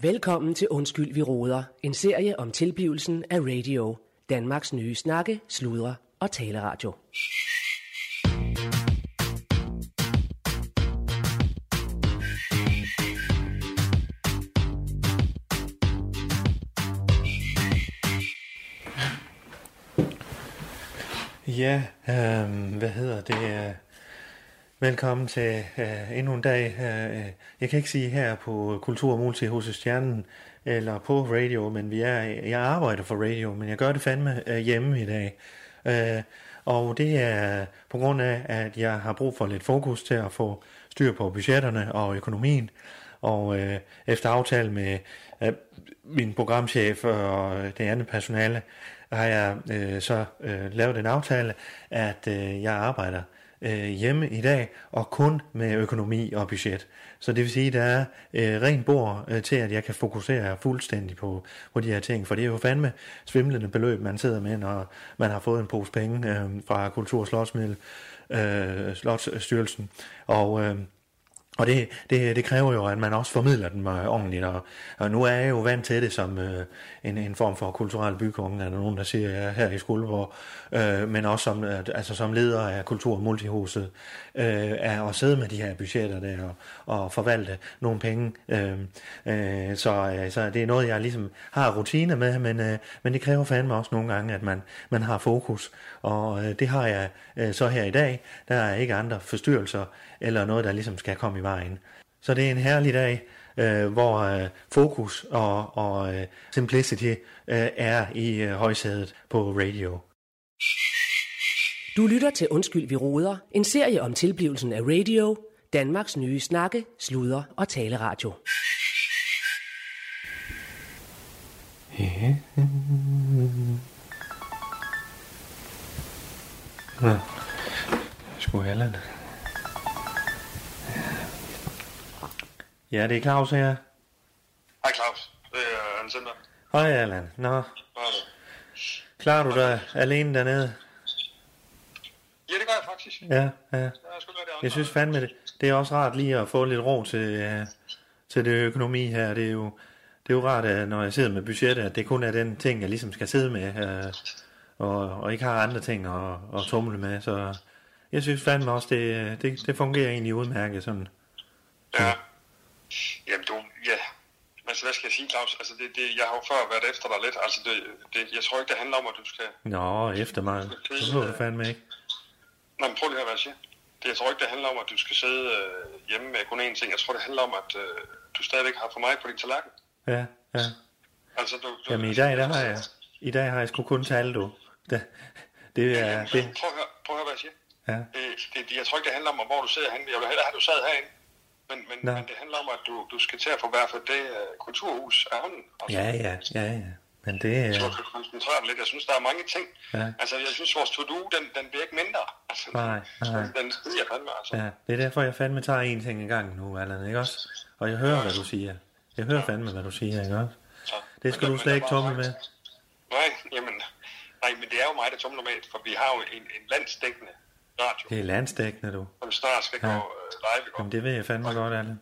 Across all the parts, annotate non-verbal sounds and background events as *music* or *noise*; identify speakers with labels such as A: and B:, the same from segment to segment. A: Velkommen til Undskyld, vi råder. En serie om tilblivelsen af radio. Danmarks nye snakke, sludre og taleradio.
B: Ja, øh, hvad hedder det? øh, Velkommen til øh, endnu en dag. Øh, øh, jeg kan ikke sige her på Kultur og Multi hos Stjernen eller på radio, men vi er, jeg arbejder for radio, men jeg gør det fandme øh, hjemme i dag. Øh, og det er på grund af, at jeg har brug for lidt fokus til at få styr på budgetterne og økonomien. Og øh, efter aftale med øh, min programchef og øh, det andet personale, har jeg øh, så øh, lavet en aftale, at øh, jeg arbejder øh, hjemme i dag, og kun med økonomi og budget. Så det vil sige, at der er øh, ren bord øh, til, at jeg kan fokusere fuldstændig på, på de her ting, for det er jo fandme svimlende beløb, man sidder med, når man har fået en pose penge øh, fra Kultur- og Slotsmiddel, øh, Slotsstyrelsen. Og... Øh, og det, det, det kræver jo, at man også formidler dem øh, ordentligt, og, og nu er jeg jo vant til det som øh, en, en form for kulturel bykonge, er der nogen, der siger jeg er her i Skuldborg, øh, men også som, øh, altså som leder af Kultur- og Multihuset, øh, er at sidde med de her budgetter der og, og forvalte nogle penge. Øh, øh, så, øh, så det er noget, jeg ligesom har rutiner med, men, øh, men det kræver fandme også nogle gange, at man, man har fokus, og øh, det har jeg øh, så her i dag. Der er ikke andre forstyrrelser eller noget, der ligesom skal komme i vejen. Så det er en herlig dag, øh, hvor øh, fokus og, og øh, simplicity øh, er i øh, højsædet på radio.
A: Du lytter til Undskyld, vi råder. En serie om tilblivelsen af radio. Danmarks nye snakke, sludre og taleradio.
B: Sgu Allan. Ja, det er Claus her.
C: Hej Claus, det er Hans Center.
B: Hej Allan. Nå, klarer du dig alene dernede?
C: Ja, det gør jeg faktisk. Ja.
B: Ja, ja.
C: Jeg, skulle gøre det
B: Jeg synes fandme, det, det er også rart lige at få lidt ro til, øh, til det økonomi her. Det er jo, det er jo rart, at når jeg sidder med budgettet, at det kun er den ting, jeg ligesom skal sidde med, øh, og, og ikke har andre ting at, at tumle med. Så jeg synes fandme også, det, øh, det, det fungerer egentlig udmærket sådan.
C: Ja. Jamen du, ja. Men så hvad skal jeg sige, Claus? Altså, det, det, jeg har jo før været efter dig lidt. Altså, det, det, jeg tror ikke, det handler om, at du skal...
B: Nå, efter mig. Så må du fandme ikke.
C: Nej, men prøv lige at høre, hvad jeg siger. Det, jeg tror ikke, det handler om, at du skal sidde øh, hjemme med kun én ting. Jeg tror, det handler om, at øh, du stadigvæk har for mig på din tallerken.
B: Ja, ja.
C: Altså, du, du,
B: Jamen i dag, der har jeg, i dag har jeg sgu kun tale, du. Det, det er,
C: Jamen, det...
B: det,
C: Prøv, at høre, prøv at høre, hvad jeg siger.
B: ja.
C: Det, det, det, jeg tror ikke, det handler om, hvor du sidder henne. Jeg vil hellere have, at du sad herinde. Men, men,
B: Nå.
C: men det handler om, at du, du skal til at få i hvert fald det uh, kulturhus af hånden. Altså,
B: Ja, ja, ja, ja. Men det er...
C: Jeg tror, du skal koncentrere dig lidt. Jeg synes, der er mange ting.
B: Ja.
C: Altså, jeg synes, vores to-do, den, den bliver ikke mindre. Altså,
B: Nej, nej.
C: Den, den stiger fandme, altså.
B: Ja, det er derfor, jeg fandme tager en ting i gangen nu, Allan, ikke også? Og jeg hører, hvad du siger. Jeg hører fandme, hvad du siger, ikke også?
C: Så,
B: Det skal
C: men-
B: du
C: men
B: slet
C: der
B: ikke
C: var
B: tumle med.
C: faktisk- Nej, jamen, nej, men det er jo mig, der tumler med, for vi har jo en, en landsdækkende radio,
B: Det er landsdækkende, du.
C: som snart skal
B: Ja.
C: gå øh, live i går.
B: Jamen, det ved jeg fandme godt, Allan.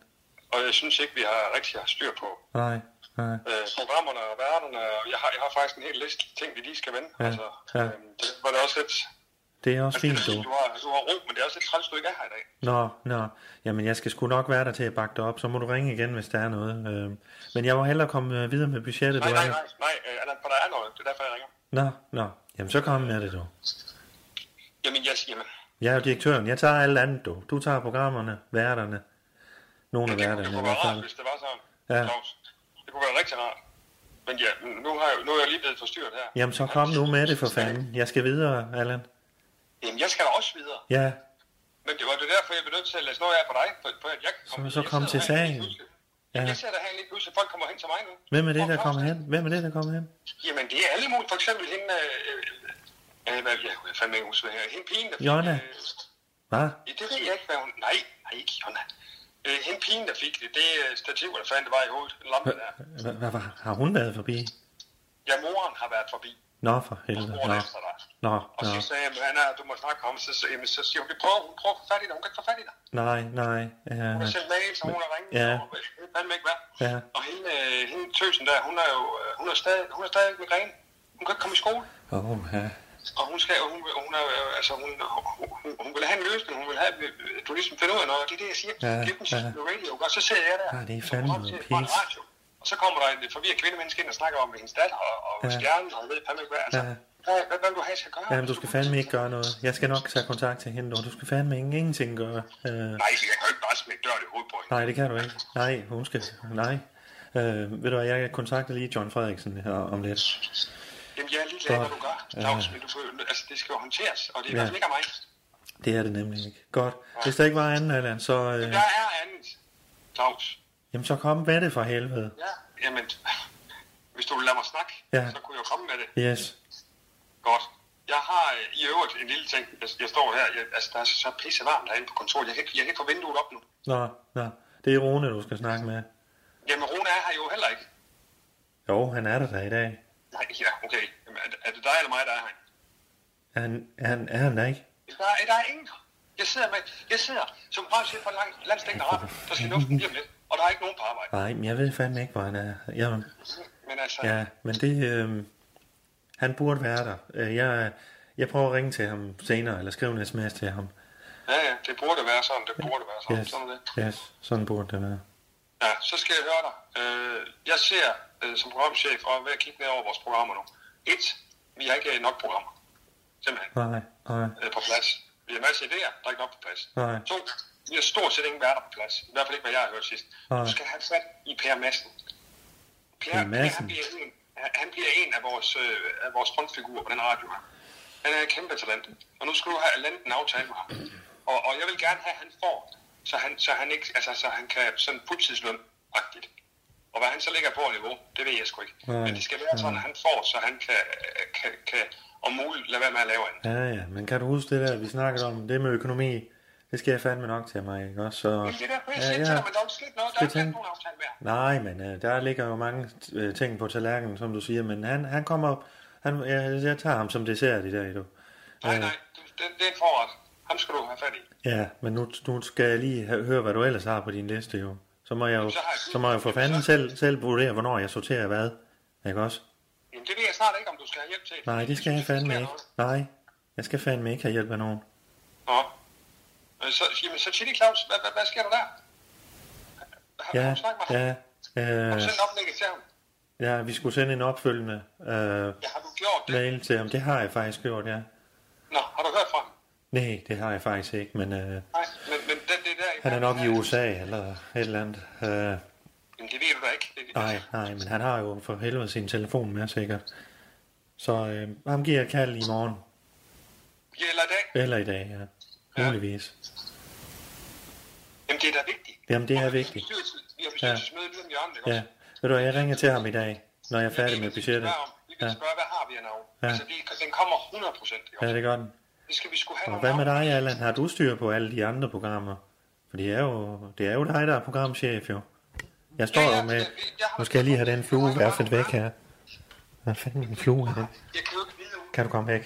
C: Og jeg synes ikke, vi har rigtig har styr på,
B: Nej, nej.
C: øh, programmerne og værterne, og jeg har, jeg har faktisk en hel liste ting, vi lige skal vende.
B: Ja,
C: Ja, altså,
B: ja.
C: ja. Øhm, det var det også lidt... Altså,
B: Det er også fint,
C: du.
B: du.
C: har, du har ro, men det er også lidt træls, du ikke er her i dag.
B: Nå, nå. Jamen, jeg skal sgu nok være der til at bakke dig op. Så må du ringe igen, hvis der er noget. Øh, Men jeg må hellere komme øh, videre med budgettet, du.
C: Nej, nej,
B: Allan.
C: nej, nej, øh, Allan, for der er noget. Det er derfor, jeg ringer.
B: Nå, nå. Jamen, så kom med det, du.
C: Jamen, jeg siger, jamen,
B: Jeg er jo direktøren. Jeg tager alt andet, du. Du tager programmerne, værterne. Nogle af
C: det, kunne- det
B: værterne i
C: kunne
B: hvert
C: være rart,
B: fald.
C: hvis det var sådan.
B: Ja.
C: Ja. Claus. Det kunne være rigtig rart. Men ja, men nu, har jeg, nu er jeg lige blevet forstyrret her.
B: Jamen, så kom nu med det, for fanden. Jeg skal videre, Allan.
C: Jamen, jeg skal da også videre.
B: Ja,
C: Men det var det derfor, jeg blev nødt til at læse noget af for dig, for, for at jeg kan komme.
B: Så- så kom
C: jeg sidder
B: til
C: herinde lige
B: sagen.
C: pludselig.
B: Ja.
C: Jeg sidder herinde lige pludselig, folk kommer hen til mig nu.
B: Hvem er det,
C: Og
B: der
C: Claus,
B: kommer hen? Hvem er det, der kommer hen?
C: Jamen, det er alle mulige. For eksempel hende... Øh, øh, øh, hvad, jeg kunne fandme ikke huske, hvad her. Hende pigen, der fik...
B: Jonna.
C: Øh,
B: Hvad?
C: ja, det ved jeg ikke, hvad hun... Nej, nej, ikke Jonna. Øh, hende pigen, der fik det, det øh, stativ, der fandt det var i hovedet. En lampe der.
B: Hvad, hvad, hvad har hun været forbi?
C: Ja, moren har været forbi.
B: Nå, for helvede.
C: Moren
B: Nå,
C: efter dig.
B: nå,
C: Og
B: nå.
C: så sagde jeg, Anna, du må snakke om, så, så, jamen, så siger hun, det prøver, hun prøver at få fat i dig, hun kan ikke få fat i dig.
B: Nej, nej. Øh,
C: Hun har sendt mail, så hun har ringet,
B: Ja.
C: og det er fandme ikke hvad.
B: Ja.
C: Og hende, øh, fordi hende tøsen der, hun er jo øh, hun er stadig, hun er stadig med gren. Hun kan ikke komme i skole.
B: Åh, oh, ja.
C: Og hun skal, og hun, hun, er, øh, altså, hun, hun, hun- hun, vil have en løsning, hun vil have, at du ligesom finder ud af noget, og det er det, jeg siger.
B: Ja,
C: Ja, Giv den
B: ja.
C: ja. radio, og så sidder jeg der.
B: Ja, det er
C: Så
B: fandme
C: kommer op til-
B: noget
C: får en
B: pis.
C: radio. Og så kommer der en forvirret kvindemenneske ind og snakker om hendes datter og, og
B: Ja.
C: ja. stjernen, og hun ved fandme ikke hvad. Altså,
B: Ja.
C: ja. hvad, hvad, hvad vil du have, jeg skal gøre?
B: Jamen, du skal fandme ikke gøre noget. Jeg skal nok tage kontakt til hende, og du skal fandme ingen- ingenting gøre. Øh,
C: Nej, jeg kan jo ikke bare smække døren i hovedet på hende.
B: nej, det kan du ikke. Nej, hun skal... Nej. Øh, ved du hvad, jeg kontakter lige John Frederiksen her om lidt.
C: Jamen, jeg er ligeglad,
B: Så,
C: hvad du gør, Claus, men du får, altså, det skal jo håndteres, og det
B: Ja.
C: er i hvert fald ikke af mig.
B: Det er det nemlig ikke. Godt. Hvis der ikke var andet, Allan, så... Øh,
C: Der er andet, Claus.
B: jamen, så kom med det for helvede.
C: Ja, jamen, *laughs* hvis du vil lade mig snakke,
B: Ja.
C: ja. så kunne jeg jo komme med det.
B: Yes.
C: Godt. Jeg har øh, i øvrigt en lille ting. Jeg, jeg står her, jeg, altså der er så, så pisse varmt herinde på kontoret. Jeg kan, ikke, jeg kan ikke få vinduet op nu.
B: Nå, nå. Det er Rune, du skal snakke med.
C: Jamen, Rune er her jo heller ikke.
B: Jo, han er der da i dag.
C: Nej, ja, okay. Jamen, er, det- er det dig eller mig, der er her?
B: Er han, er han, er han der ikke?
C: Der er, der er ingen. Jeg sidder, med, jeg sidder som rørchef for en lang, landstækkende radio, der skal luften lige om lidt, og der er ikke nogen på arbejde.
B: Nej, men jeg ved fandme ikke, hvor han er. Jamen,
C: Men altså, ja.
B: ja, men det... Øh, han burde være der. Øh, Jeg, jeg prøver at ringe til ham senere, eller skrive en sms til ham.
C: ja, ja, det burde være sådan, det burde være sådan.
B: Yes,
C: Yes. Sådan er det.
B: yes sådan burde det være.
C: Ja, så skal jeg høre dig. Øh, jeg ser øh, som programchef, og er ved at kigge ned over vores programmer nu. Et, vi har ikke øh, nok programmer. Simpelthen.
B: Nej, nej,
C: øh, på plads. Vi har masser af idéer, der er ikke nok på plads.
B: Nej.
C: To, vi har stort set ingen værter på plads. I hvert fald ikke, hvad jeg har hørt sidst.
B: Nej.
C: Du skal have fat i Per Madsen. Per,
B: Per
C: per
B: Madsen?
C: han, bliver en, han- han bliver en af vores, øh, af vores frontfigurer på den radio her. Han er et kæmpe talent. Og nu skal du have landet en aftale med ham. Og, og jeg vil gerne have, at han får, så han, så han, ikke, altså, så han kan sådan fuldtidsløn-agtigt. Og hvad han så ligger på niveau, det ved jeg sgu ikke.
B: Nej.
C: Men det skal være sådan, at han får, så han kan, kan, kan om muligt lade være med at lave andet.
B: Ja, ja, men kan du huske det der, vi snakkede om, det med økonomi? Det skal jeg fandme nok til mig, ikke også? Så,
C: Men det der kunne jeg
B: ja,
C: sige til
B: ja.
C: dig, men der er ikke sket noget. Der er
B: Skal
C: ikke
B: tænke-
C: sket nogen aftale mere.
B: Nej, men øh, der ligger jo mange øh, ting på tallerkenen, som du siger, men han, han kommer op, han, jeg, jeg tager ham som dessert i dag, du.
C: Nej,
B: Øh,
C: nej, du- det, det er en forret. Ham skal du have fat i.
B: Ja, men nu, nu skal jeg lige ha- høre, hvad du ellers har på din liste, jo. Så må jeg jo,
C: så har jeg-
B: så må jeg for
C: Jamen,
B: fanden
C: så-
B: selv, selv vurdere, hvornår jeg sorterer hvad, ikke også?
C: Jamen, det ved jeg snart ikke, om du skal have hjælp til.
B: Nej, det skal jeg fandme ikke. Nej, jeg skal fandme ikke have hjælp af nogen.
C: Nå. Men så, jamen, så Chili Claus, hvad, hvad, hvad sker der der? Har, har
B: Ja,
C: du snakket med ham?
B: ja,
C: Har
B: øh,
C: du sendt oplægget til ham?
B: ja, vi skulle sende en opfølgende øh,
C: Ja, har du gjort det?
B: mail til ham. Det har jeg faktisk gjort, ja.
C: Nå, har du hørt fra ham?
B: Nej, det har jeg faktisk ikke, men øh,
C: Nej, men, men det, det der...
B: han er nok i USA eller et eller andet. Øh,
C: Jamen, det ved du da ikke. Det, det,
B: nej, nej, men han har jo for helvede sin telefon med sikkert. Så øh, ham giver jeg et kald i morgen.
C: Ja, eller i dag.
B: Eller i dag, ja.
C: Ja.
B: Muligvis.
C: Jamen, det er da vigtigt.
B: Jamen, det er
C: Og vi har
B: vigtigt.
C: bestyrelses- Vi har bestyrelsesmøde lige om hjørnet, ikke
B: Ja.
C: også?
B: ja. Ved du, hvad, jeg ringer til ham i dag, når jeg er færdig med
C: Vi vil
B: budgettet.
C: spørge om- Vi vil
B: Ja,
C: spørge, hvad har vi af navn?
B: Ja.
C: Altså, det, den kommer 100 procent.
B: ja det er godt.
C: Det skal vi sgu have
B: Og
C: nogle
B: hvad med
C: navne.
B: dig, Allan? Har du styr på alle de andre programmer? For det er jo, det er jo dig, der er programchef, jo. Jeg står
C: Ja,
B: jo
C: ja,
B: med...
C: jeg- jeg har-
B: Nu skal jeg lige have den flue
C: Jeg har-
B: værfet væk her. Hvad fanden er en flue her?
C: Jeg kan jo ikke vide ud.
B: Kan du komme væk?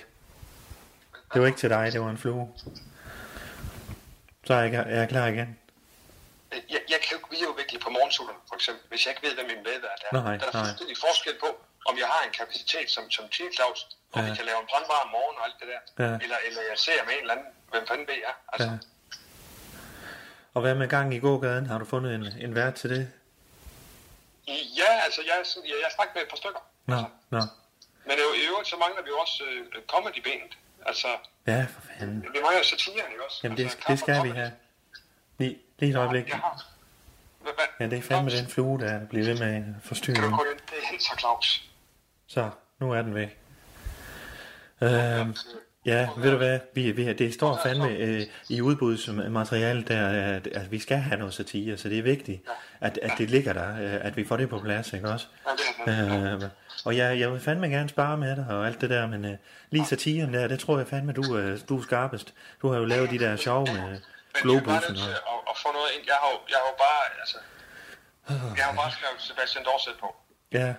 B: Det var ikke til dig, det var en flue. Så er jeg, er jeg klar igen.
C: Jeg, jeg kan jo ikke videreudvikle på morgensolen, for eksempel, hvis jeg ikke ved, hvad min medvært er.
B: Nej,
C: der er
B: nej.
C: fuldstændig forskel på, om jeg har en kapacitet som, som Tine Claus, og
B: Ja.
C: vi kan lave en brandvarm morgen og alt det der.
B: Ja.
C: Eller, eller jeg ser med en eller anden, hvem fanden ved jeg. Altså,
B: Ja. Og hvad med gang i gågaden? Har du fundet en, en vært til det?
C: ja. ja, altså, jeg, er sådan- jeg, jeg har snakket med et par stykker.
B: Nå,
C: Altså,
B: nå.
C: men øh, i øvrigt, så mangler vi jo også øh, comedy-benet. Altså,
B: Ja, for fanden.
C: vi mangler satiren, ikke også?
B: Jamen, det,
C: altså,
B: det
C: kamp og
B: skal vi
C: comedy.
B: have. Lige, lige et øjeblik.
C: Jeg har... Hvad, hvad?
B: Ja, det er fandme den flue, der bliver ved med at forstyrre.
C: Kan du
B: nu.
C: gå ind? Det er helt så Claus.
B: Så, nu er den væk. Øhm, ja, ved du hvad? Vi, vi, det står fandme øh, i udbudsmaterialet der, at, at vi skal have noget satire, så det er vigtigt, at, at det ligger der, øh, at vi får det på plads, ikke også?
C: Ja, det er det.
B: Øh, og jeg, jeg vil fandme gerne spare med dig og alt det der, men øh, lige satiren der, det tror jeg fandme, du, øh, du er skarpest. Du har jo lavet de der sjove med
C: Men
B: Globus og
C: jeg
B: noget.
C: er bare nødt til at, at få noget ind. Jeg har, jo- jeg har jo bare, altså, jeg har jo bare skrevet Sebastian Dorset på,
B: Ja,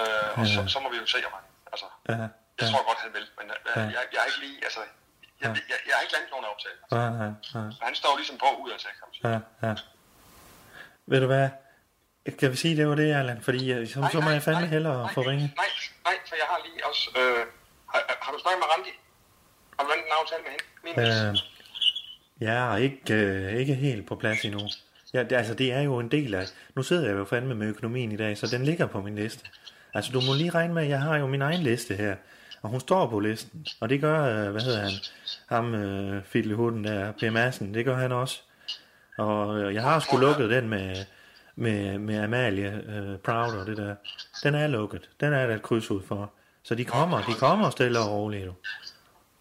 C: øh, og så, så, må vi jo se om han, altså,
B: ja,
C: jeg tror godt, han vil, men øh, jeg, jeg, har ikke lige, altså, jeg, jeg, jeg har ikke landet nogen aftale. Altså,
B: ja, ja, ja.
C: Han står ligesom på ud af sig, kan man sige.
B: ja, ja. Ved du hvad? Kan vi sige, det var det, Erland? Fordi øh, så, så må jeg fandme hellere få ringet.
C: Nej, nej, for jeg har lige også... Øh, har, har, du snakket med Randi? Har du lavet en aftale med hende? Min
B: Øh, jeg er ikke, øh, ikke helt på plads endnu. Ja, det, altså, det er jo en del af... Nu sidder jeg jo fandme med økonomien i dag, så den ligger på min liste. Altså, du må lige regne med, at jeg har jo min egen liste her. Og hun står på listen. Og det gør, øh, hvad hedder han? Ham, øh, Fiddlehunden der, Per Madsen, det gør han også. Og øh, jeg har sgu lukket den med, med, med Amalie øh, Proud og det der. Den er lukket. Den er der et kryds ud for. Så de kommer, de kommer stille og roligt. Du.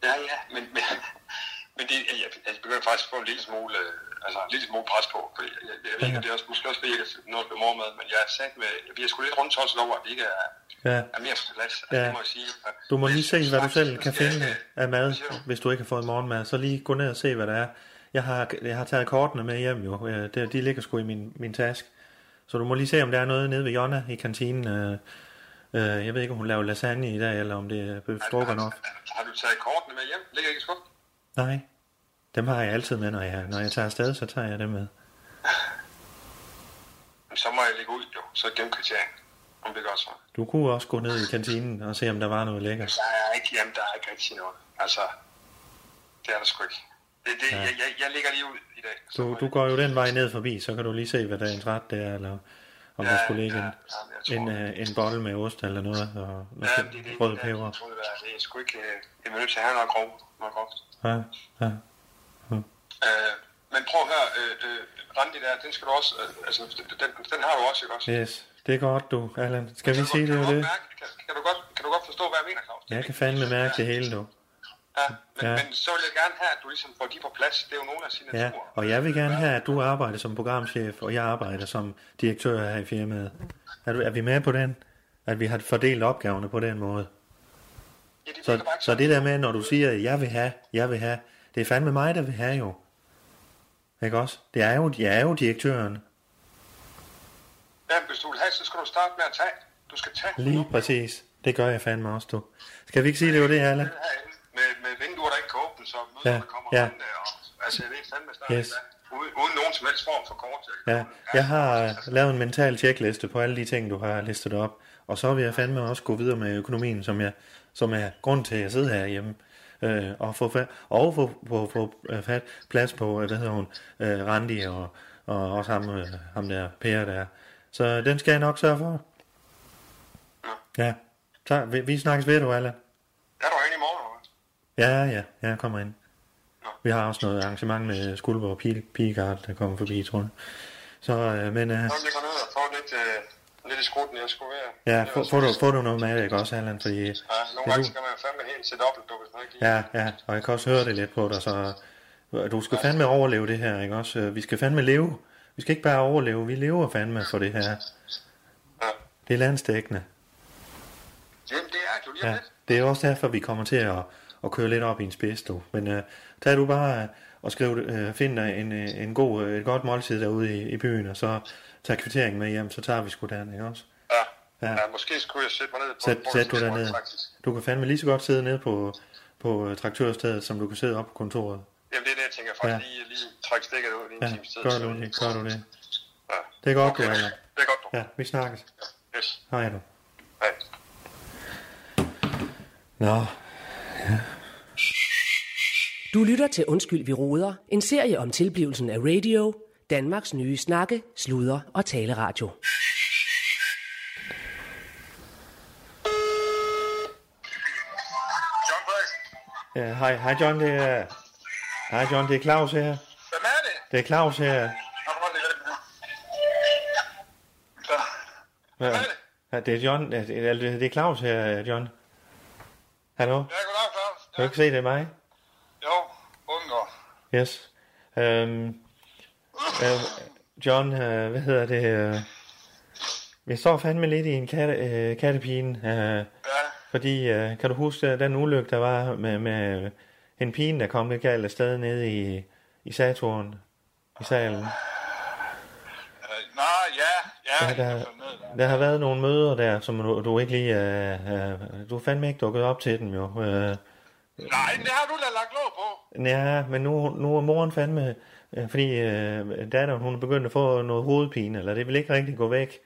C: Ja, ja, men, men, *laughs* men det, jeg, jeg begynder faktisk at få en lille smule, øh, altså en lille smule pres på, fordi jeg, jeg, jeg ved ikke, om det er også, måske også, fordi jeg ikke er noget med mor med, men jeg er sat med, vi er sgu lidt rundt tosset over, at vi ikke er,
B: Ja.
C: er mere forladt, altså,
B: Ja.
C: det må jeg sige.
B: Du må lige se, hvad du selv kan finde
C: Ja,
B: af mad, hvis du ikke har fået morgenmad. Så lige gå ned og se, hvad der er. Jeg har, jeg har taget kortene med hjem jo. Øh, det- De ligger sgu i min, min task. Så du må lige se, om der er noget nede ved Jonna i kantinen. Øh, øh, Jeg ved ikke, om hun laver lasagne i dag, eller om det er bøf stroganoff.
C: Har, har, du taget kortene med hjem? Ligger ikke i skuffen?
B: Nej, dem har jeg altid med, når jeg, når jeg tager afsted, så tager jeg dem med.
C: Jamen, Så må jeg ligge ud, jo. Så gennemkriterier. Om det gør så.
B: Du kunne også gå ned i kantinen og se, om der var noget lækkert.
C: Der er ikke, jamen, der er ikke rigtig noget. Altså, det er der sgu ikke. Det, det, ja. jeg, jeg, jeg ligger lige ud i dag. så må
B: Du, du
C: jeg-
B: går jo den vej ned forbi, så kan du lige se, hvad der er en ret der, eller om der
C: Ja,
B: skulle ligge
C: ja,
B: en,
C: ja,
B: en,
C: men jeg
B: øh, en bolle med ost eller noget, og noget
C: Ja, det er det.
B: rød
C: det er det,
B: peber.
C: jeg troede, det var. Det er sgu ikke... øh, Jeg vil nødt til at have noget grov. Noget groft.
B: Ja, ja.
C: Øh, men prøv at høre, øh, øh, Randi der, den skal du også... Øh, altså, den, den har du også, ikke også?
B: Yes, det er godt, du, Allan. Skal vi
C: Kan du-
B: sige, det
C: kan du
B: var
C: godt
B: det?
C: Mærke, kan, kan, du godt, kan du godt forstå, hvad jeg mener, Claus?
B: Jeg kan fandme mærke det hele, du.
C: Ja, men,
B: Ja.
C: ja. men så vil jeg gerne have, at du ligesom får de på plads. Det er jo nogle af sine
B: Ja,
C: natur.
B: og jeg vil gerne have, at du arbejder som programchef, og jeg arbejder som direktør her i firmaet. Er, du, er vi med på den? At vi har fordelt opgaverne på den måde?
C: Ja, det
B: Så,
C: virker bare ikke
B: så det der med, når du siger, jeg vil have, jeg vil have, det er fandme mig, der vil have jo. Ikke også? Det er jo, jeg er jo direktøren.
C: Ja, hvis du vil have, så skal du starte med at tage. Du skal tage
B: Lige præcis. Det gør jeg fandme også, du. Skal vi ikke sige, det var det, Allan?
C: den herinde med, med vinduer, der ikke kan åbne, så
B: Ja,
C: møderne ja. kommer
B: ja.
C: ja. der. Og, altså, jeg ved fandme snart,
B: Yes.
C: yes. uden, uden nogen som helst form for kort. Altså,
B: Ja, jeg har øh, lavet en mental checkliste på alle de ting, du har listet op. Og så vil jeg fandme også gå videre med økonomien, som, jeg, som er grund til, at jeg sidder herhjemme. Øh, og få, fa- og få, få, få øh, fat, plads på, øh, hvad hedder hun, øh, Randi og, og også ham, øh, ham der, Per der. Så den skal jeg nok sørge for. Ja, klar. Vi, vi snakkes ved, du, Allan.
C: Er du inde i morgen, eller hvad?
B: Ja, ja, jeg kommer ind. Vi har også noget arrangement med Skuldborg Pil- Pigard, der kommer forbi, tror jeg. Så, øh, men øh,
C: Så vil jeg gå ned og få lidt, øh, lidt i skrutten, jeg skulle være.
B: ja,
C: Det er
B: få,
C: også-
B: få, du, få du noget med, ikke også, Allan? Fordi, det
C: Ja, nogle
B: er
C: gange
B: du,
C: skal man jo fandme helt sætte op, du hvis man ikke lige...
B: ja, ja, og jeg kan også høre det lidt på dig, så øh, du skal fandme overleve det her, ikke også? Øh, Vi skal fandme leve. Vi skal ikke bare overleve, vi lever fandme for det her.
C: ja.
B: Det er landstækkende.
C: Jamen, det er det jo lige om
B: Ja,
C: lidt.
B: det er også derfor, vi kommer til at, at køre lidt op i en spids, du. Men øh, tag du bare øh, og skriv, det, øh, find dig en, øh, en god, øh, et godt måltid derude i, i byen, og så tag kvitteringen med hjem, så tager vi sgu den, ikke også?
C: Ja.
B: Ja.
C: Ja. ja. måske skulle jeg sætte mig ned på...
B: Sæt,
C: et bord,
B: sæt
C: så
B: du
C: jeg
B: dig
C: får
B: ned.
C: faktisk.
B: Du kan fandme lige så godt sidde nede på, på øh, traktørstedet, som du kan sidde op på kontoret.
C: Jamen, det er det, jeg tænker faktisk
B: Ja.
C: lige, lige trække stikket ud i en
B: Ja,
C: times tid.
B: gør
C: så-
B: du det, gør du det.
C: Ja.
B: Det er godt, du
C: Okay.
B: er her.
C: Det er godt, du.
B: Ja, vi snakkes.
C: Yes.
B: Hej du.
C: Hej.
B: Nå,
A: Du lytter til Undskyld, vi roder, en serie om tilblivelsen af radio, Danmarks nye snakke, sludre og taleradio.
C: John Frederiksen.
B: ja, hej, hej John, det er... Hej John, det er Claus her.
C: Hvem er det?
B: Det er Claus her.
C: Jeg prøver lige at den her. Så.
B: Hvad?
C: Hvad er det?
B: Ja, det er John. Ja, Det er, det er Claus her, John. Hallo?
C: Ja, goddag, Claus.
B: Kan du
C: Ja.
B: ikke se, det er mig?
C: Jo, Bundgaard.
B: Yes. Øhm, øh, John, øh, hvad hedder det? Øh, jeg står fandme lidt i en katte, øh, kattepine. Øh,
C: Ja,
B: fordi, øh, kan du huske øh, den ulykke, der var med, med øh, en pige, der kom lidt galt afsted nede i, i Saturn? I salen.
C: øh, nå, ja, ja,
B: Ja,
C: jeg
B: der-
C: kan følge med der.
B: Der har været nogle møder der, som du, du ikke lige... Øh, øh, du er fandme ikke dukket op til dem, jo. Øh,
C: Nej, men det har du da lagt låg på.
B: Ja, men nu, nu er moren fandme Øh, Fordi øh, datteren, hun er begyndt at få noget hovedpine, eller det vil ikke rigtig gå væk.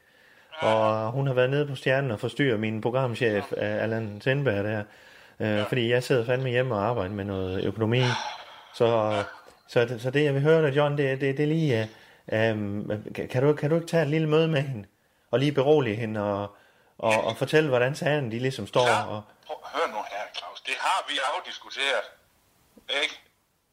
B: Og hun har været nede på stjernen og forstyrrer min programchef, øh, Allan Sindberg, der. Øh, fordi jeg sidder fandme hjemme og arbejder med noget økonomi. Så, så, det- så det, jeg vil høre dig, John, det, det, det er lige... Øh, øh, kan, kan du, kan du ikke tage et lille møde med hende? Og lige berolige hende og, og, og fortælle, hvordan sagen de ligesom står og
C: Prøv, hør nu her, Claus. Det har vi afdiskuteret. Ikke?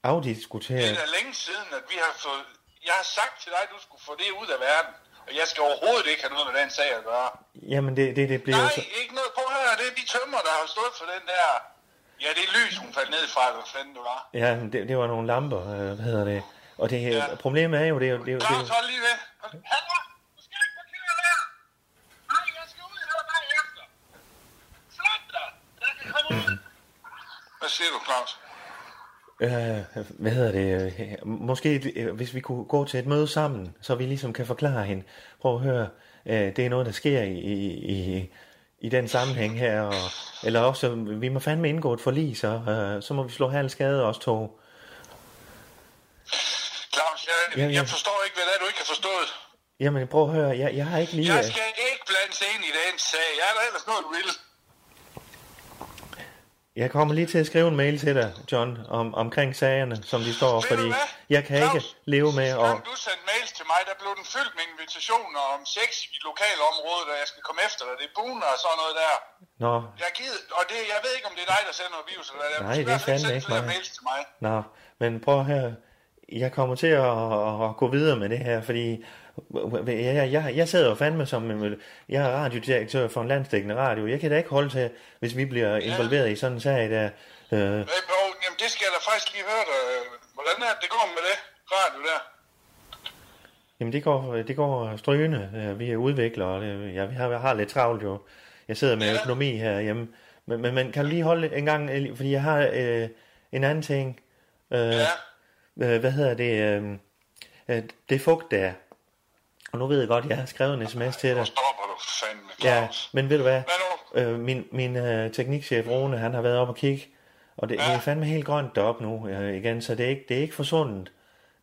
C: Det
B: afdiskutere.
C: er da længe siden, at vi har fået... Jeg har sagt til dig, at du skulle få det ud af verden. Og jeg skal overhovedet ikke have noget med den sag at gøre.
B: Jamen, det, det, det bliver jo
C: Nej,
B: så...
C: ikke noget. Prøv at høre, det er de tømmer, der har stået for den der... Ja, det er lys, hun faldt ned fra, eller hvad fanden det var.
B: Ja, men det, det var nogle lamper, øh, hvad hedder det? Og det her, ja.
C: Ja.
B: problemet er jo, det er jo... Det, er jo- det,
C: Claus,
B: er
C: hold lige ved. Hold- Halvor, du skal ikke parkere der. Nej, jeg skal ud, holder dig efter. Flot dig. Jeg kan komme ud. Hvad siger du, Claus?
B: jo- øh, hvad hedder det? øh, Måske, øh, hvis vi kunne gå til et møde sammen, så vi ligesom kan forklare hende. Prøv at høre, øh, det er noget, der sker i, i, i, i den sammenhæng her. Og, eller også, vi må fandme indgå et forlig, så, øh, så må vi slå halv skade os to.
C: Claus, jeg,
B: Ja,
C: ja,
B: ja.
C: ja. jeg forstår ikke, hvad det er, du ikke har forstået.
B: Jamen, prøv at høre, jeg, jeg har ikke lige...
C: Jeg
B: øh,
C: skal ikke blandes ind i den sag. Jeg er da ellers noget real.
B: Jeg kommer lige til at skrive en mail til dig, John, om, omkring sagerne, som de står,
C: Ved du
B: fordi
C: hvad,
B: jeg kan
C: Claus?
B: ikke leve med
C: Sidste
B: at...
C: gang du sendte mails til mig, der blev den fyldt med invitationer om sex i lokale områder, og jeg skal komme efter dig. Det er buner og sådan noget der.
B: Nå,
C: Jeg gider, og det, jeg ved ikke, om det er dig, der sender noget virus eller hvad.
B: Nej, det
C: Du skal
B: er
C: i hvert fald
B: fandme
C: sende
B: ikke
C: flere
B: mig.
C: mails til mig.
B: Nå, men prøv her. Jeg kommer til at, at, at gå videre med det her, fordi jeg, jeg, jeg, jeg sidder jo fandme som en, jeg er radiodirektør for en landstækkende radio. Jeg kan da ikke holde til, hvis vi bliver involveret i sådan en sag der. Øh,
C: Øh, og, jamen, det skal jeg da faktisk lige høre dig. øh, Hvordan er det, det går med det radio der?
B: jamen det går, det går strygende. Øh, Vi er udviklere, og det, jeg, vi har, jeg har lidt travlt jo. Jeg sidder med
C: Ja.
B: økonomi herhjemme. Men, men, men kan du lige holde en gang, øh, fordi jeg har øh, en anden ting. Øh,
C: Ja.
B: øh, hvad hedder det, øh, øh, det fugt der. Og nu ved jeg godt, jeg har skrevet en sms til
C: Nu
B: dig.
C: stopper du fandme,
B: Ja,
C: Claus.
B: men ved du hvad?
C: Hvad
B: Øh, min min øh, teknikchef Rune, han har været op og kigge, og det, det er fandme helt grønt deroppe nu øh, igen, så det er ikke, det er ikke forsvundet,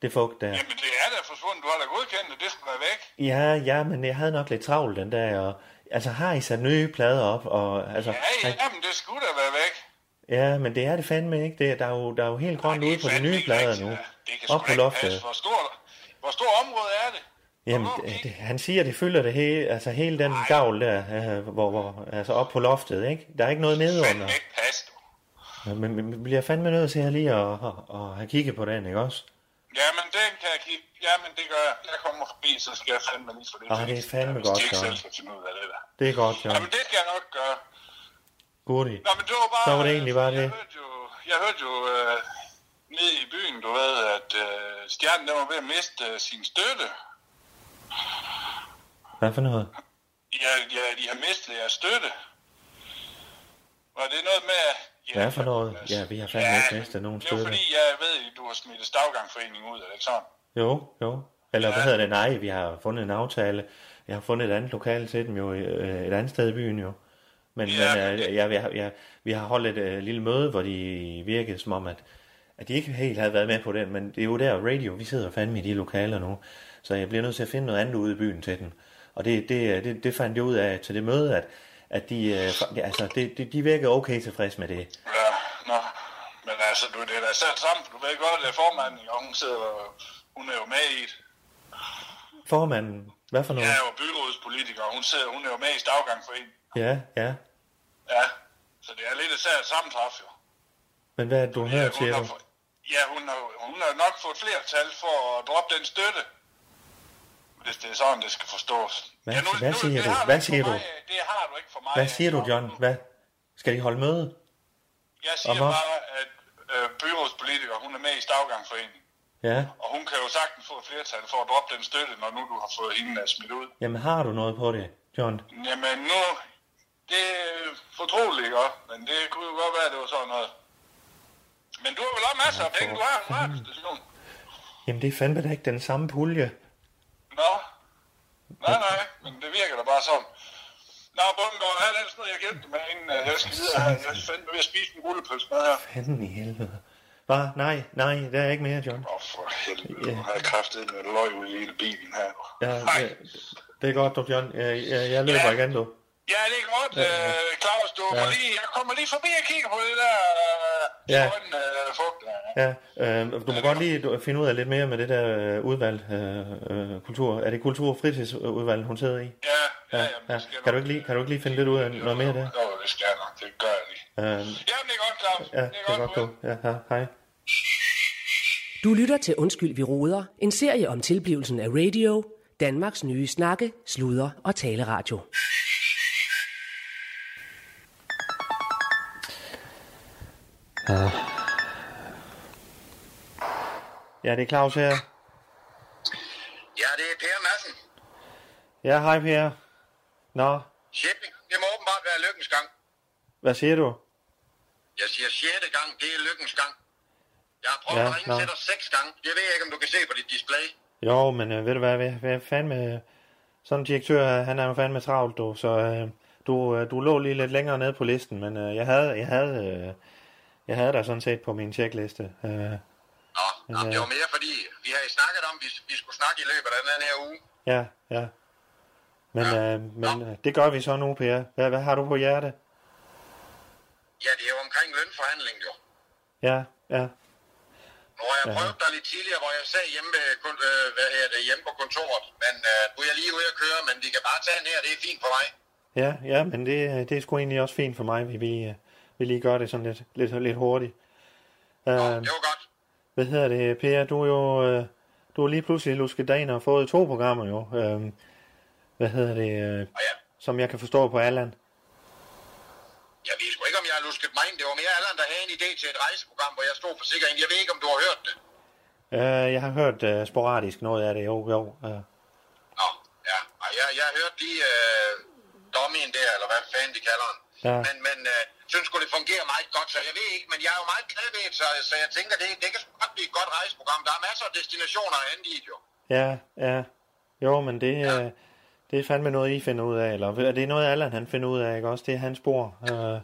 B: det fugt der.
C: Jamen, det er da forsvundet. Du har da godkendt det. Det skulle være væk.
B: Ja, ja, men jeg havde nok lidt travlt den dag, og altså har I sat nye plader op, og altså...
C: Ja, ja, jamen, det skulle da være væk.
B: Ja, men det er det fandme ikke. Det, er- der, er jo, der er jo helt grønt
C: Nej,
B: ude
C: det er
B: på de
C: fandme
B: nye
C: ikke
B: plader
C: rigtigt,
B: nu.
C: ja. Det kan
B: Op
C: sgu
B: på
C: da ikke
B: loftet.
C: passe. Hvor stort hvor stor område er det?
B: Jamen,
C: Hvor
B: det,
C: gik-
B: det, han siger, det fylder det hele, altså hele den Ej. gavl der, øh, hvor, hvor, altså op på loftet, ikke? Der er ikke noget nedenunder.
C: Fandme ikke passe, du.
B: Men, men, men bliver fandme nødt til her lige at, at, at have kigget på den, ikke også?
C: Jamen, den kan jeg kigge. Jamen, det gør jeg. Jeg kommer forbi, så skal jeg fandme lige for det.
B: Ah, det er
C: fikset.
B: fandme
C: Hvis
B: godt,
C: de ikke
B: Søren.
C: selv kan finde ud af det der.
B: Det er godt,
C: Ja.
B: John.
C: Jamen, det skal jeg nok gøre.
B: Goodie.
C: Nå, men det var bare...
B: Så var det egentlig bare
C: jeg
B: det.
C: Hørte jo, jeg hørte jo øh, ned i byen, du ved, at øh, stjernen der var ved at miste øh, sin støtte.
B: Hvad for noget?
C: Ja, ja, de har mistet jeres støtte. Var det noget med... Ja,
B: Hvad for noget? Ja, vi har fandme ikke mistet nogen
C: Det er jo
B: støtte.
C: fordi, jeg ved, at du har smidt stavgangforeningen ud, er det ikke sådan?
B: Jo, jo. Eller hvad hedder det? Nej, vi har fundet en aftale. Jeg har fundet et andet lokale til dem jo, øh, et andet sted i byen jo. Men,
C: Ja.
B: men øh, jeg, jeg, jeg, vi har holdt et øh, lille møde, hvor de virkede som om, at, at de ikke helt havde været med på den. Men det er jo der radio, vi sidder fandme i de lokaler nu. Så jeg bliver nødt til at finde noget andet ude i byen til dem. Og det, det, øh, det, det fandt jeg ud af til det møde, at, at de, øh, fa- altså, det, de, de virkede okay tilfreds med det.
C: Ja, nå. Men altså, du, det er da sat sammen, for du ved godt, at formanden, jo, hun sidder og- hun er jo med i det.
B: Formanden, hvad for noget?
C: Jeg er jo byrådspolitiker, og hun, sidder, hun er jo med i stavgangforeningen.
B: Ja, ja.
C: Ja, så det er lidt et sært sammentræf, jo.
B: Men hvad er det, du
C: Ja,
B: hører,
C: hun
B: siger
C: har,
B: du?
C: fået- ja hun, har, hun har nok fået flertal for at droppe den støtte. Hvis det er sådan, det skal forstås.
B: Hvad-
C: ja,
B: hvad siger
C: det
B: du?
C: har
B: Hvad
C: ikke for
B: siger du?
C: Mig, af. det har du ikke for mig.
B: Hvad
C: af.
B: siger du, John? Hvad? Skal de holde møde?
C: Jeg siger
B: Hvorfor?
C: bare, at øh, byrådspolitiker, hun er med i stavgangforeningen.
B: Ja.
C: Og hun kan jo sagtens få et flertal for at droppe den støtte, når nu du har fået hende øh, smidt ud.
B: Jamen, har du noget på det, John?
C: Jamen nu, det er fortroligt, ikke? også? Men det kunne jo godt være, at det var sådan noget. Men du har vel også masser af penge, du har en radiostation.
B: Jamen, det er fandme da ikke den samme pulje.
C: Nå, nej nej, men det virker da bare sådan. Nå, Bundgaard, er det ellers noget, jeg kan hjælpe dig med, inden øh, jeg skal videre? Jeg er fandme ved at spise en rullepølse med her.
B: Fanden i helvede. Hvad? Nej, nej, der er ikke mere, John.
D: Åh, oh, for helvede,
B: Ja.
D: nu har jeg kraftet med løg ud i hele bilen her.
B: Ja,
D: Nej.
B: ja, det er godt, du, John. Jeg, jeg, jeg løber
D: Ja.
B: igen, du.
D: Ja, det er godt, øh, Claus. Du ja. lige, jeg kommer lige forbi og kigger på det der øh,
B: Ja.
D: ja. grønne øh, fugt. der.
B: Ja, øh, du må godt lige du- finde ud af lidt mere med det der øh, udvalg, øh, øh, kultur. Er det kultur- og fritidsudvalg, hun sidder i?
D: Ja, ja,
B: Ja,
D: jamen,
B: ja.
D: det skal jeg
B: Kan du
D: nok.
B: ikke lige, kan du ikke lige finde lidt ud af noget mere der?
D: Jo, det skal jeg nok. Det gør jeg lige.
B: Øh,
D: Jamen, det er godt, Claus.
B: ja, det er godt, du. Ja, ja, hej.
A: Du lytter til Undskyld, vi råder. En serie om tilblivelsen af radio. Danmarks nye snakke, sludre og taleradio.
B: Ja, det er Claus her.
C: Ja, det er Per Madsen.
B: Ja, hej Per. Nå,
C: Sjette, det må åbenbart være lykkens gang.
B: hvad siger du?
C: Jeg siger sjette gang, det er lykkens gang. Jeg har prøvet
B: Ja,
C: ja, at ringe
B: nå.
C: til dig seks gange. Jeg ved ikke, om du kan se på dit display.
B: Jo, men øh, ved du hvad, hvad, hvad fandme... Sådan en direktør, øh, han er jo fandme travlt, du, så øh, du, øh, du lå lige lidt længere nede på listen, men øh, jeg havde, jeg havde, øh, jeg havde dig sådan set på min checkliste. Øh,
C: Nå, ja.
B: Ja.
C: det var mere fordi, vi har snakket om, at vi, vi skulle snakke i løbet af den her uge.
B: ja, ja. Men, øh, men øh, det gør vi så nu, Per. Hvad, hvad har du på hjerte?
C: Ja, det er jo omkring lønforhandling jo.
B: Ja, ja,
C: Nu har jeg
B: Ja.
C: prøvet dig lidt tidligere, hvor jeg sad hjemme, ved, kun- øh, hvad hedder det, hjemme på kontoret. Men øh, nu er jeg lige ude at køre, men vi kan bare tage den her, det er fint for mig.
B: ja, ja, men det, øh, det er sgu egentlig også fint for mig, vi, vi, øh, vi lige gør det sådan lidt, lidt, lidt hurtigt.
C: Nå,
B: Øh,
C: det var godt.
B: Hvad hedder det, Per? Du er jo øh, du er lige pludselig luskedaner og fået to programmer jo. Øhm, hvad hedder det, øh,
C: Og ja,
B: som jeg kan forstå på Allan.
C: jeg ved sgu ikke, om jeg har lusket mig ind. Det var mere Allan, der havde en idé til et rejseprogram, hvor jeg stod for sikkerheden. Jeg ved ikke, om du har hørt det.
B: Øh, jeg har hørt øh, sporadisk noget af det, jo, jo. Øh,
C: Nå, ja. Og jeg, jeg hørte lige øh, dommien der, eller hvad fanden de kalder den.
B: Ja.
C: Men, men øh, synes sgu, det fungerer meget godt, så jeg ved ikke, men jeg er jo meget klædet, så, så jeg tænker, det, det kan sgu godt blive et godt rejseprogram. Der er masser af destinationer og andet i det jo.
B: ja, ja. Jo, men det, øh, det er fandme noget, I finder ud af, eller er det noget, Allan han finder ud af, ikke også? Det er hans spor. Øh,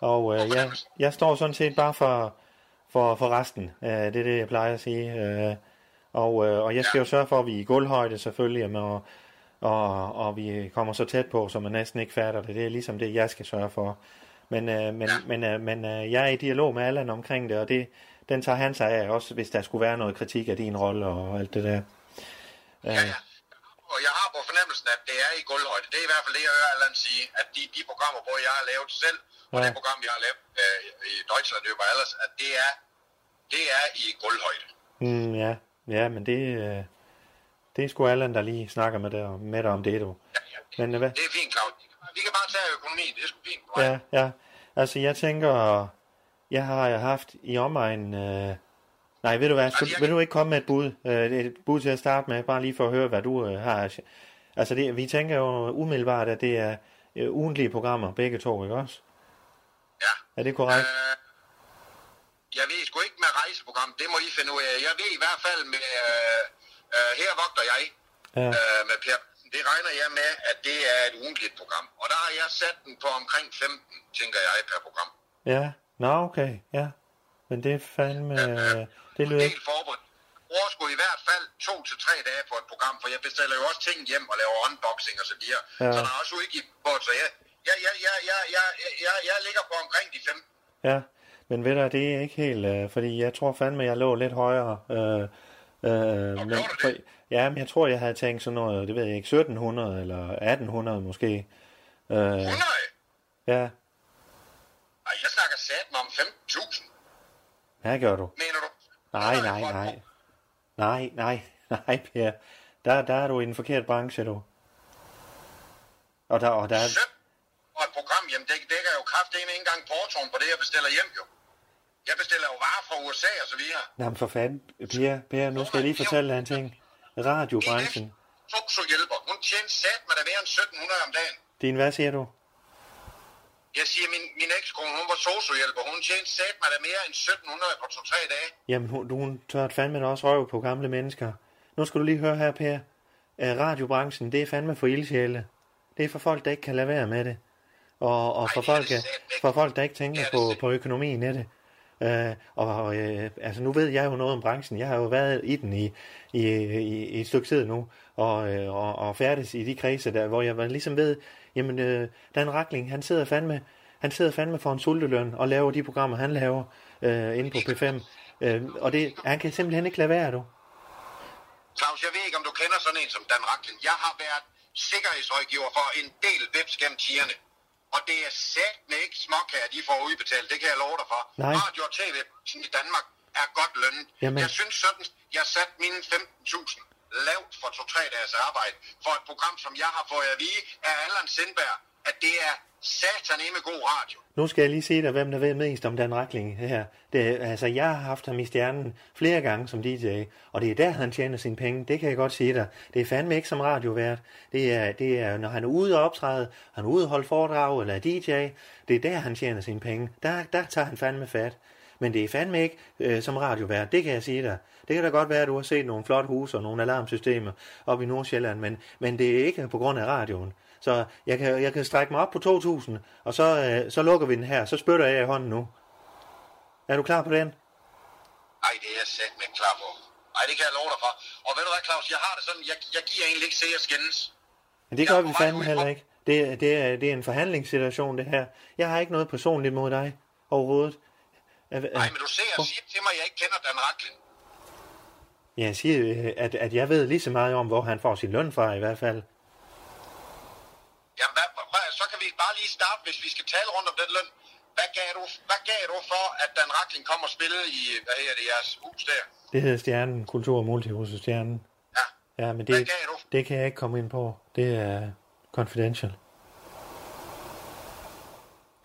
B: og øh, jeg, jeg står sådan set bare for, for, for resten. Øh, det er det, jeg plejer at sige. Øh, og, øh, og jeg skal jo sørge for, at vi er i gulvhøjde selvfølgelig, men, og, og, og vi kommer så tæt på, så man næsten ikke fatter det. Det er ligesom det, jeg skal sørge for. Men, øh, men, men, øh, men øh, jeg er i dialog med Allan omkring det, og det, den tager han sig af, også hvis der skulle være noget kritik af din rolle og alt det der.
C: Ja, ja. Og jeg har på fornemmelsen, at det er i gulvhøjde. Det er i hvert fald det, jeg hører Allan sige, at de, de programmer, hvor jeg har lavet selv,
B: Ja.
C: og ja. det program, jeg har lavet øh, i Deutschland over ellers, at det er, det er i gulvhøjde.
B: Mm, ja. ja, men det, øh, det er sgu Allan, der lige snakker med dig, om- med dig om det, du.
C: Ja, ja.
B: Men øh, hvad?
C: Det er fint, Claus. Vi kan bare tage økonomien, det er sgu fint. Ja.
B: Ja, ja. Altså, jeg tænker, jeg har haft i omegn... Øh... Nej, ved du hvad, skulle,
C: jeg-
B: vil du ikke komme med et bud? Øh, det er et bud til at starte med, bare lige for at høre, hvad du øh, har. af- Altså, det, vi tænker jo umiddelbart, at det er øh, ugentlige programmer, begge to, ikke også?
C: ja.
B: Er det korrekt?
C: Øh, jeg ved sgu ikke med rejseprogram, det må I finde ud af. Jeg ved i hvert fald med, øh, øh, her vogter jeg,
B: Ja,
C: øh, med Per. Det regner jeg med, at det er et ugentligt program. Og der har jeg sat den på omkring 15, tænker jeg, per program.
B: ja. Nå, okay, ja. Men det er fandme... Øh, det lyder ikke...
C: Helt forberedt. Bruger sgu i hvert fald to til tre dage på et program, for jeg bestiller jo også ting hjem og laver unboxing og så videre.
B: Ja.
C: Ja. Så der er også udgift på, så jeg, jeg, jeg, jeg, jeg, jeg, jeg, jeg ligger på omkring de 15.
B: Ja, men ved du, det er ikke helt, øh, fordi jeg tror fandme, jeg lå lidt højere. Øh, øh, men,
C: gjorde du
B: for,
C: det?
B: ja, men jeg tror, jeg havde tænkt sådan noget, det ved jeg ikke, 1700 eller 1800 måske. Øh,
C: 100?
B: ja,
C: Ej, jeg snakker satme om 15.000,
B: hvad gør du?
C: mener du?
B: Nej, nej, nej. Nej, nej, *laughs* nej, Per. Der, der er du i den forkerte branche, du. Og der, og der, er-
C: 17 og et program, jamen det dækker jo kraft ikke engang portoen på det, jeg bestiller hjem jo. Jeg bestiller jo varer fra USA og så videre.
B: jamen for fanden, Per, Per, nu skal jeg lige fortælle dig en ting. Radiobranchen,
C: Sosu hjælper. Hun tjente sat med der mere end 1700 om dagen.
B: din, hvad siger du?
C: Jeg siger, min, min ekskone, hun var sosuhjælper. Hun tjente sat mig da mere end 1700 på 2-3 dage.
B: Jamen, hun, du- hun tørret fandme da også røv på gamle mennesker. Nu skal du lige høre her, Per. Øh, radiobranchen, det er fandme for ildsjæle. Det er for folk, der ikke kan lade være med det. Og, og for,
C: det er
B: folk,
C: det satme ikke.
B: for folk, der ikke tænker
C: Det er det
B: på,
C: satme.
B: på økonomien i det. Øh, og øh, altså nu ved jeg jo noget om branchen. Jeg har jo været i den i, i, i, i et stykke tid nu, og, øh, og, og færdes i de kredse der, hvor jeg ligesom ved, jamen øh, Dan Rakling, han sidder fandme, han sidder fandme for en sulteløn og laver de programmer, han laver øh, inde på P5. Øh, og det, han kan simpelthen ikke lade være, du.
C: Claus, jeg ved ikke, om du kender sådan en som Dan Raklen. Jeg har været sikkerhedsrådgiver for en del vips gennem tierne. Og det er sætme ikke småkager, de får udbetalt. Det kan jeg love dig for.
B: Nej.
C: Radio og tv i Danmark er godt lønnet.
B: Jamen.
C: Jeg synes sådan, jeg satte mine 15.000 lavt for to-tre dages arbejde for et program, som jeg har fået at vide af Allan Sindberg, at det er sataneme god radio.
B: Nu skal jeg lige se dig, hvem der ved mest om Dan Rakling her. Det, er- altså, jeg har haft ham i stjernen flere gange som DJ, og det er der, han tjener sine penge. Det kan jeg godt sige dig. Det er fandme ikke som radiovært. Det er, det er når han er ude og optræde, han er ude og holde foredrag eller er DJ. Det er der, han tjener sine penge. Der, der tager han fandme fat. Men det er fandme ikke øh, som radiovært, det kan jeg sige dig. Det kan da godt være, at du har set nogle flotte huse og nogle alarmsystemer op i Nordsjælland, men, men det er ikke på grund af radioen. Så jeg kan, jeg kan strække mig op på 2.000, og så, øh, så lukker vi den her. Så spytter jeg i hånden nu. Er du klar på den?
C: Ej, det er jeg sætme ikke klar på. Ej, det kan jeg love dig for. Og ved du hvad, Claus, jeg har det sådan, jeg, jeg giver egentlig ikke se at skændes.
B: Men det
C: Jeg
B: gør
C: er
B: vi
C: på vej
B: fandme
C: ud.
B: heller ikke. Det, er- det, er, det er en forhandlingssituation, det her. Jeg har ikke noget personligt mod dig overhovedet. Øh, øh,
C: Nej, men du ser og siger til mig, at jeg ikke kender Dan Raklen.
B: Jeg siger, øh, at, at jeg ved lige så meget om, hvor han får sin løn fra i hvert fald.
C: Jamen, hvad, prøv, at- så kan vi bare lige starte, hvis vi skal tale rundt om den løn. Hvad gav du, hvad gav du for, at Dan Rakling kom og spillede i, hvad hedder det, jeres hus der?
B: Det hedder Stjernen, Kultur- og Multihusestjernen.
C: Ja.
B: Ja, men
C: Hvad
B: det,
C: gav du?
B: det kan jeg ikke komme ind på. Det er confidential.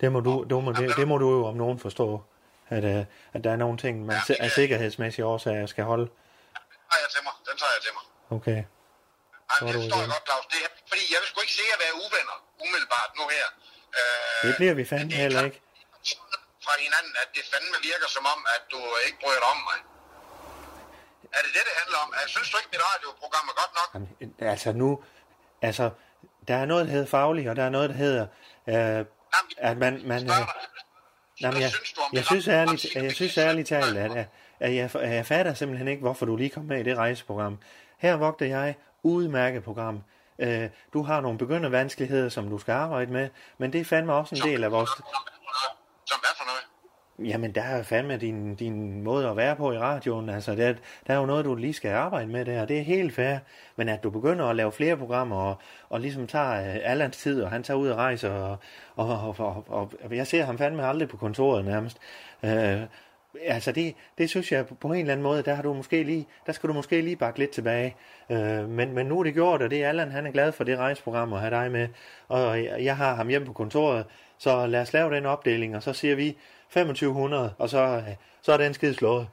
B: Det må du, du må, det, det må du jo om nogen forstå, at, øh, at der er nogle ting, man
C: øh,
B: si- af sikkerhedsmæssige årsager skal holde.
C: Den tager jeg til mig. Den tager jeg til mig.
B: Okay.
C: Ej,
B: Så er
C: men det
B: du
C: forstår jeg
B: igen.
C: godt, Claus. Det er, fordi jeg vil sgu ikke se at være uvenner, umiddelbart nu her. Øh,
B: Det bliver vi fandme
C: men det er
B: heller
C: klart
B: ikke.
C: Fra hinanden, at det fandme virker som om, at du ikke bryder dig om mig. Er det det, det handler om? Jeg synes du ikke, mit radioprogram er godt nok?
B: Jamen, øh, altså nu, altså, der er noget, der hedder faglig, og der er noget, der hedder, øh, at man, man, øh,
C: Spørg dig.
B: Jamen,
C: Hvad
B: jeg,
C: synes du om
B: jeg,
C: det
B: synes
C: ret-
B: ærligt,
C: rettidige
B: jeg synes
C: begivenhed?
B: ærligt talt, at, at- at jeg, at jeg fatter simpelthen ikke, hvorfor du lige kom med i det rejseprogram. Her vogter jeg udmærket program. Øh, du har nogle begyndervanskeligheder, som du skal arbejde med, men det er fandme også en del af vores...
C: Som hvad for noget?
B: Jamen, der er fandme din, din måde at være på i radioen. Altså, der, der er jo noget, du lige skal arbejde med der, og det er helt fair. Men at du begynder at lave flere programmer, og, og ligesom tager øh, Allans tid, og han tager ud og rejser, og, og, og, og, og, og jeg ser ham fandme aldrig på kontoret nærmest. Øh, altså, det, det synes jeg på en eller anden måde, der, har du måske lige, der skal du måske lige bakke lidt tilbage. Øh, men, men nu er det gjort, og det er Allan, han er glad for det rejseprogram at have dig med. Og jeg, jeg har ham hjemme på kontoret, så lad os lave den opdeling, og så siger vi 2500, og så, øh, så er den skide slået.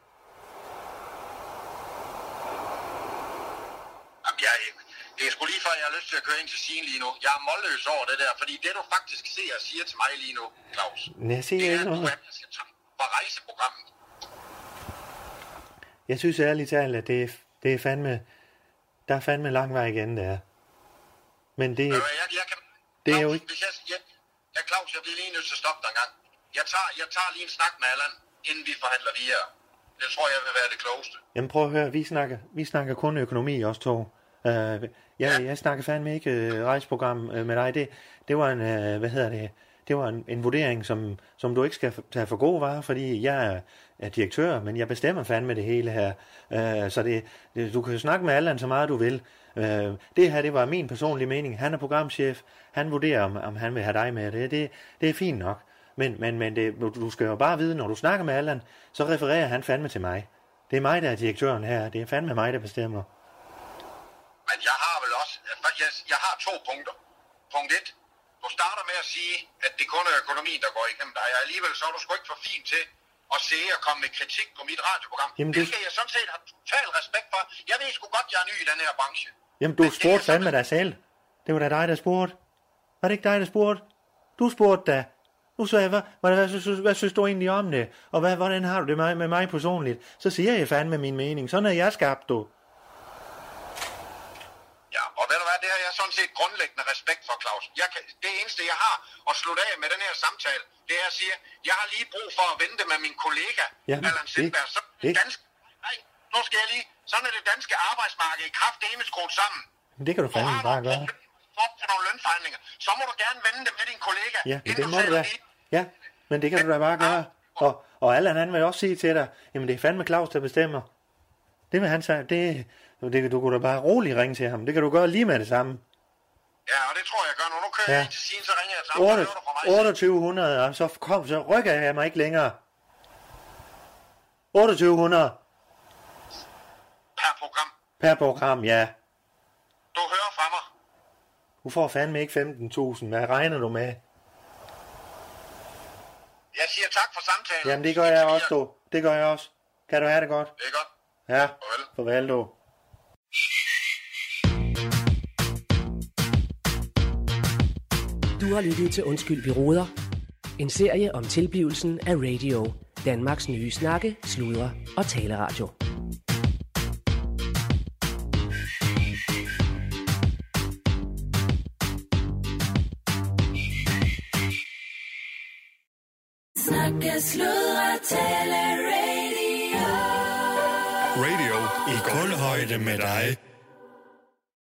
C: Jamen, jeg, det er sgu lige før, jeg har lyst til at køre ind til Signe lige nu. Jeg er målløs over det der, fordi det du faktisk ser og siger til mig lige nu, Claus,
B: Men jeg
C: det
B: siger
C: er,
B: ikke
C: at du
B: noget.
C: er, jeg skal tage fra rejseprogrammet.
B: Jeg synes ærligt talt, at det, er- det er fandme, der er fandme lang vej igen, der. Men det,
C: Øh, jeg, jeg kan,
B: Det er jo
C: Claus,
B: ikke-
C: Hvis jeg, jeg, ja, Claus, jeg bliver lige nødt til at stoppe dig en gang. Jeg tager, jeg tager lige en snak med Allan, inden vi forhandler videre. Det tror jeg vil være det klogeste.
B: jamen prøv at høre, vi snakker, vi snakker kun økonomi, os to. Uh, jeg, jeg snakker fandme ikke øh, rejseprogram øh, med dig. Det, det var en, øh, hvad hedder det, det var en, en vurdering, som, som du ikke skal f- tage for god var, fordi jeg er, er direktør, men jeg bestemmer fandme det hele her. Øh, så det, det, du kan jo snakke med Allan så meget du vil. Øh, det her, det var min personlige mening. Han er programchef. Han vurderer, om, om han vil have dig med. Det, det, det er fint nok. Men, men, men det, du du skal jo bare vide, når du snakker med Allan, så refererer han fandme til mig. Det er mig, der er direktøren her. Det er fandme mig, der bestemmer.
C: Men jeg har vel også, jeg, jeg har to punkter. Punkt et, du starter med at sige, at det kun er økonomien, der går igennem dig, og alligevel så er du sgu ikke for fin til at se og komme med kritik på mit radioprogram.
B: Jamen,
C: Jamen,
B: det-
C: det... Hvilket jeg sådan set har total respekt for. Jeg ved sgu godt, jeg er ny i den her branche.
B: Jamen, du spurgte fandme dig selv. Det var da dig, der spurgte. Var det ikke dig, der spurgte? Du spurgte da. Nu sagde jeg, hvad, hvad, hvad, synes, hvad synes du egentlig om det? Og hvad, hvordan har du det med, med mig personligt? Så siger jeg fandme min mening. Sådan er jeg skabt, du.
C: Ja, og ved du hvad, det har jeg sådan set grundlæggende respekt for, Claus. Jeg kan, det eneste, jeg har at slutte af med den her samtale, det er at sige, jeg har lige brug for at vente med min kollega,
B: Ja,
C: ja, Allan
B: det-
C: Sindberg. Så er det
B: det-
C: danske, nej, nu skal jeg lige, sådan er det danske arbejdsmarked i kraft emet skruet sammen.
B: Men det kan du
C: Du
B: fandme
C: har
B: bare
C: nogle
B: gøre.
C: problemer op til nogle lønforhandlinger, så må du gerne vende det med din kollega.
B: Ja, men
C: inden
B: det må
C: selv
B: du da.
C: lige-
B: Ja, men det kan du da bare gøre. Og, og Allan han vil også sige til dig, jamen det er fandme Claus, der bestemmer. Det vil han sige, det, det kan du kunne da bare roligt ringe til ham. Det kan du gøre lige med det samme.
C: Ja, og det tror jeg, jeg gør nu. Nu kører
B: Ja.
C: ja. jeg ind til Signe, så ringer jeg til ham, så
B: 8,
C: hører du fra mig.
B: 2800, og så, kom, så rykker jeg mig ikke længere. 2800
C: Per program.
B: per program, ja.
C: Du hører fra mig.
B: Du får fandme ikke 15.000, hvad regner du med?
C: Jeg siger tak for samtalen.
B: Jamen det gør jeg også, du. Det gør jeg også. Kan du have det godt?
C: Det er godt.
B: Ja,
C: Farvel.
B: farvel du.
A: Du har lyttet til Undskyld, vi råder. En serie om tilblivelsen af radio. Danmarks nye snakke, sludre og taleradio.
E: Snakke, sludre, tale, radio.
F: Radio i kulhøjde med dig.